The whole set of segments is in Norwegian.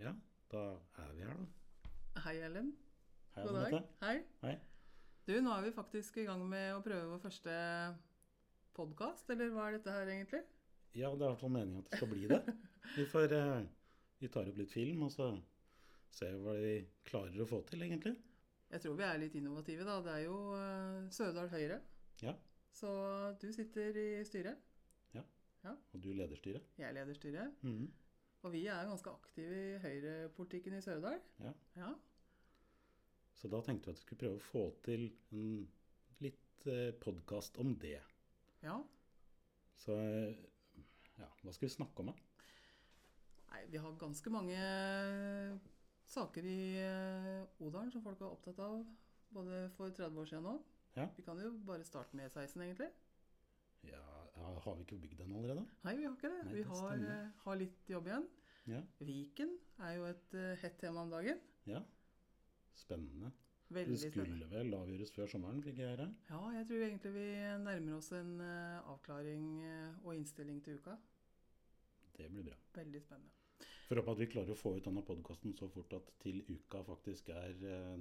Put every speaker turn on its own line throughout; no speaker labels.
Ja, da er vi her, da.
Hei, Ellen.
Hei,
God dag.
Anette.
Hei.
Hei.
Du, nå er vi faktisk i gang med å prøve vår første podkast, eller hva er dette her egentlig?
Ja, det er i hvert fall meningen at det skal bli det. Vi, får, eh, vi tar opp litt film, og så ser vi hva vi klarer å få til, egentlig.
Jeg tror vi er litt innovative, da. Det er jo eh, Sørdal Høyre.
Ja.
Så du sitter i styret.
Og du leder styret.
Jeg leder styret.
Mhm.
Og vi er ganske aktive i høyrepolitikken i Sørdal.
Ja.
Ja.
Så da tenkte vi at vi skulle prøve å få til en litt eh, podkast om det.
ja.
Så eh, ja, hva skal vi snakke om, da?
Nei, vi har ganske mange eh, saker i eh, Odalen som folk er opptatt av. Både for 30 år siden nå.
Ja.
Vi kan jo bare starte med E16, egentlig.
Ja, ja, har vi ikke bygd den allerede?
Nei, vi har ikke det.
Nei,
vi
det
har,
stemmer.
eh, har litt jobb igjen.
Ja.
Viken er jo et eh, hett tema om dagen.
ja. Spennende. Det
Veldig spennende.
skulle vel avgjøres før sommeren, fikk jeg høre.
Ja, jeg tror egentlig vi nærmer oss en eh, avklaring eh, og innstilling til uka.
Det blir bra.
Veldig spennende.
Får håpe at vi klarer å få ut denne podkasten så fort at til uka faktisk er eh,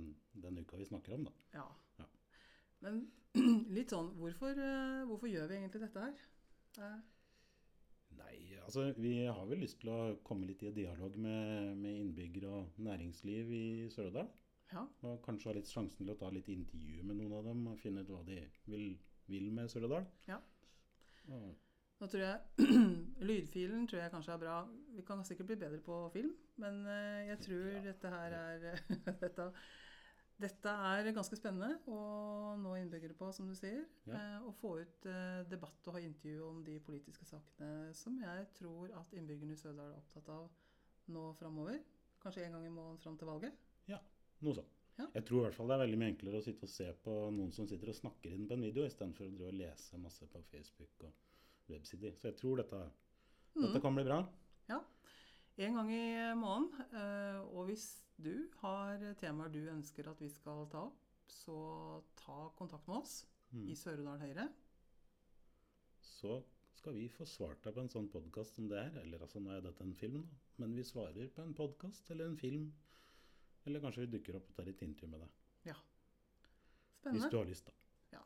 den uka vi snakker om, da.
Ja.
Ja.
Men litt sånn, hvorfor, eh, hvorfor gjør vi egentlig dette her? Eh,
Nei, altså vi har vel lyst til å komme litt i dialog med, med innbyggere og næringsliv i Sør-Odal.
ja,
Og kanskje ha litt sjansen til å ta litt intervju med noen av dem og finne ut hva de vil, vil med Sør-Odal.
Ja.
Og-
nå tror jeg Lydfilen tror jeg kanskje er bra. Vi kan sikkert bli bedre på film, men eh, jeg tror
Ja.
dette her er dette, dette er ganske spennende å nå innbyggere på, som du sier.
Ja.
eh, Og få ut eh, debatt og ha intervju om de politiske sakene som jeg tror at innbyggerne i Sørdal er opptatt av nå framover. Kanskje en gang i måneden fram til valget.
Noe sånt.
Ja.
Jeg tror i hvert fall det er veldig mye enklere å sitte og se på noen som sitter og snakker inn på en video, istedenfor å drive og lese masse på Facebook og websider. Så jeg tror dette,
Mm.
dette kan bli bra.
En gang i måneden. eh, Og hvis du har temaer du ønsker at vi skal ta opp, så ta kontakt med oss
Mm.
i Sør-Odal Høyre.
Så skal vi få svart deg på en sånn podkast som det er. Eller altså, nå er dette en film, da. Men vi svarer på en podkast eller en film. Eller kanskje vi dukker opp og tar litt intervju med deg. Hvis
Spennende.
du har lyst, da.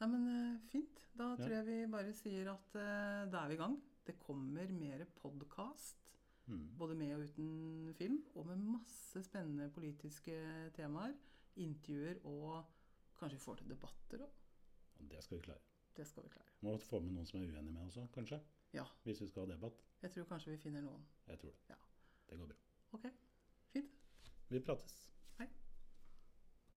Nei, men eh, Fint. Da
Ja.
tror jeg vi bare sier at eh, da er vi i gang. Det kommer mer podkast,
Mm.
både med og uten film, og med masse spennende politiske temaer, intervjuer og kanskje vi får til debatter òg.
Og Det skal vi klare.
Det skal vi klare.
Må få med noen som er uenig med også, kanskje.
Ja.
Hvis vi skal ha debatt.
Jeg tror kanskje vi finner noen.
Jeg tror det.
Ja.
Det går bra.
OK. Fint.
Vi prates.